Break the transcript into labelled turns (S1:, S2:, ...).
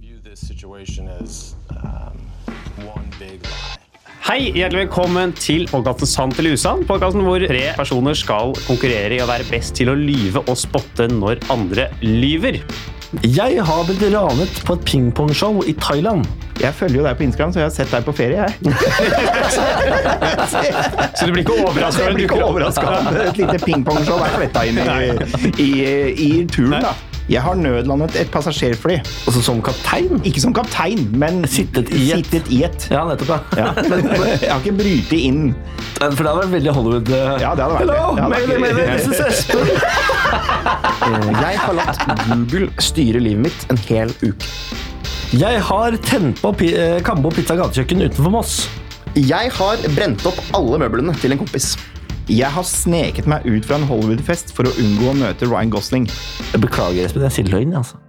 S1: view this situation as um, one big lie.
S2: Hei, hjertelig velkommen til podkasten Sant eller usann. Podkasten hvor tre personer skal konkurrere i å være best til å lyve og spotte når andre lyver.
S3: Jeg har blitt ranet på et pingpongshow i Thailand.
S4: Jeg følger jo deg på Instagram, så jeg har sett deg på ferie. jeg.
S2: Så du blir ikke overraska
S4: Jeg
S2: når
S4: blir
S2: du
S4: ikke
S2: dukker opp.
S4: overraska om et lite pingpongshow er fletta inn i, i, i turen. da. Jeg har nødlandet et passasjerfly.
S3: Altså som kaptein?
S4: Ikke som kaptein, men
S3: Sittet i et.
S4: Sittet i et.
S3: Ja, nettopp. Ja.
S4: Ja. Men jeg har ikke brytet inn.
S3: For det hadde vært veldig Hollywood. eh,
S4: Ja, det hadde vært det.
S3: Hello,
S4: Det hadde vært
S3: maybe,
S4: gøy.
S3: maybe, this is us.
S5: Eh, Jeg har latt Google styre livet mitt en hel uke.
S3: Jeg har tent på pi eh, Kambo Pizza gatekjøkken utenfor Moss.
S5: Jeg har brent opp alle møblene til en kompis.
S4: Jeg har sneket meg ut fra en Hollywood-fest for å unngå å møte Ryan Gosling.
S3: Jeg beklager, Espen. Jeg sier løgn. altså.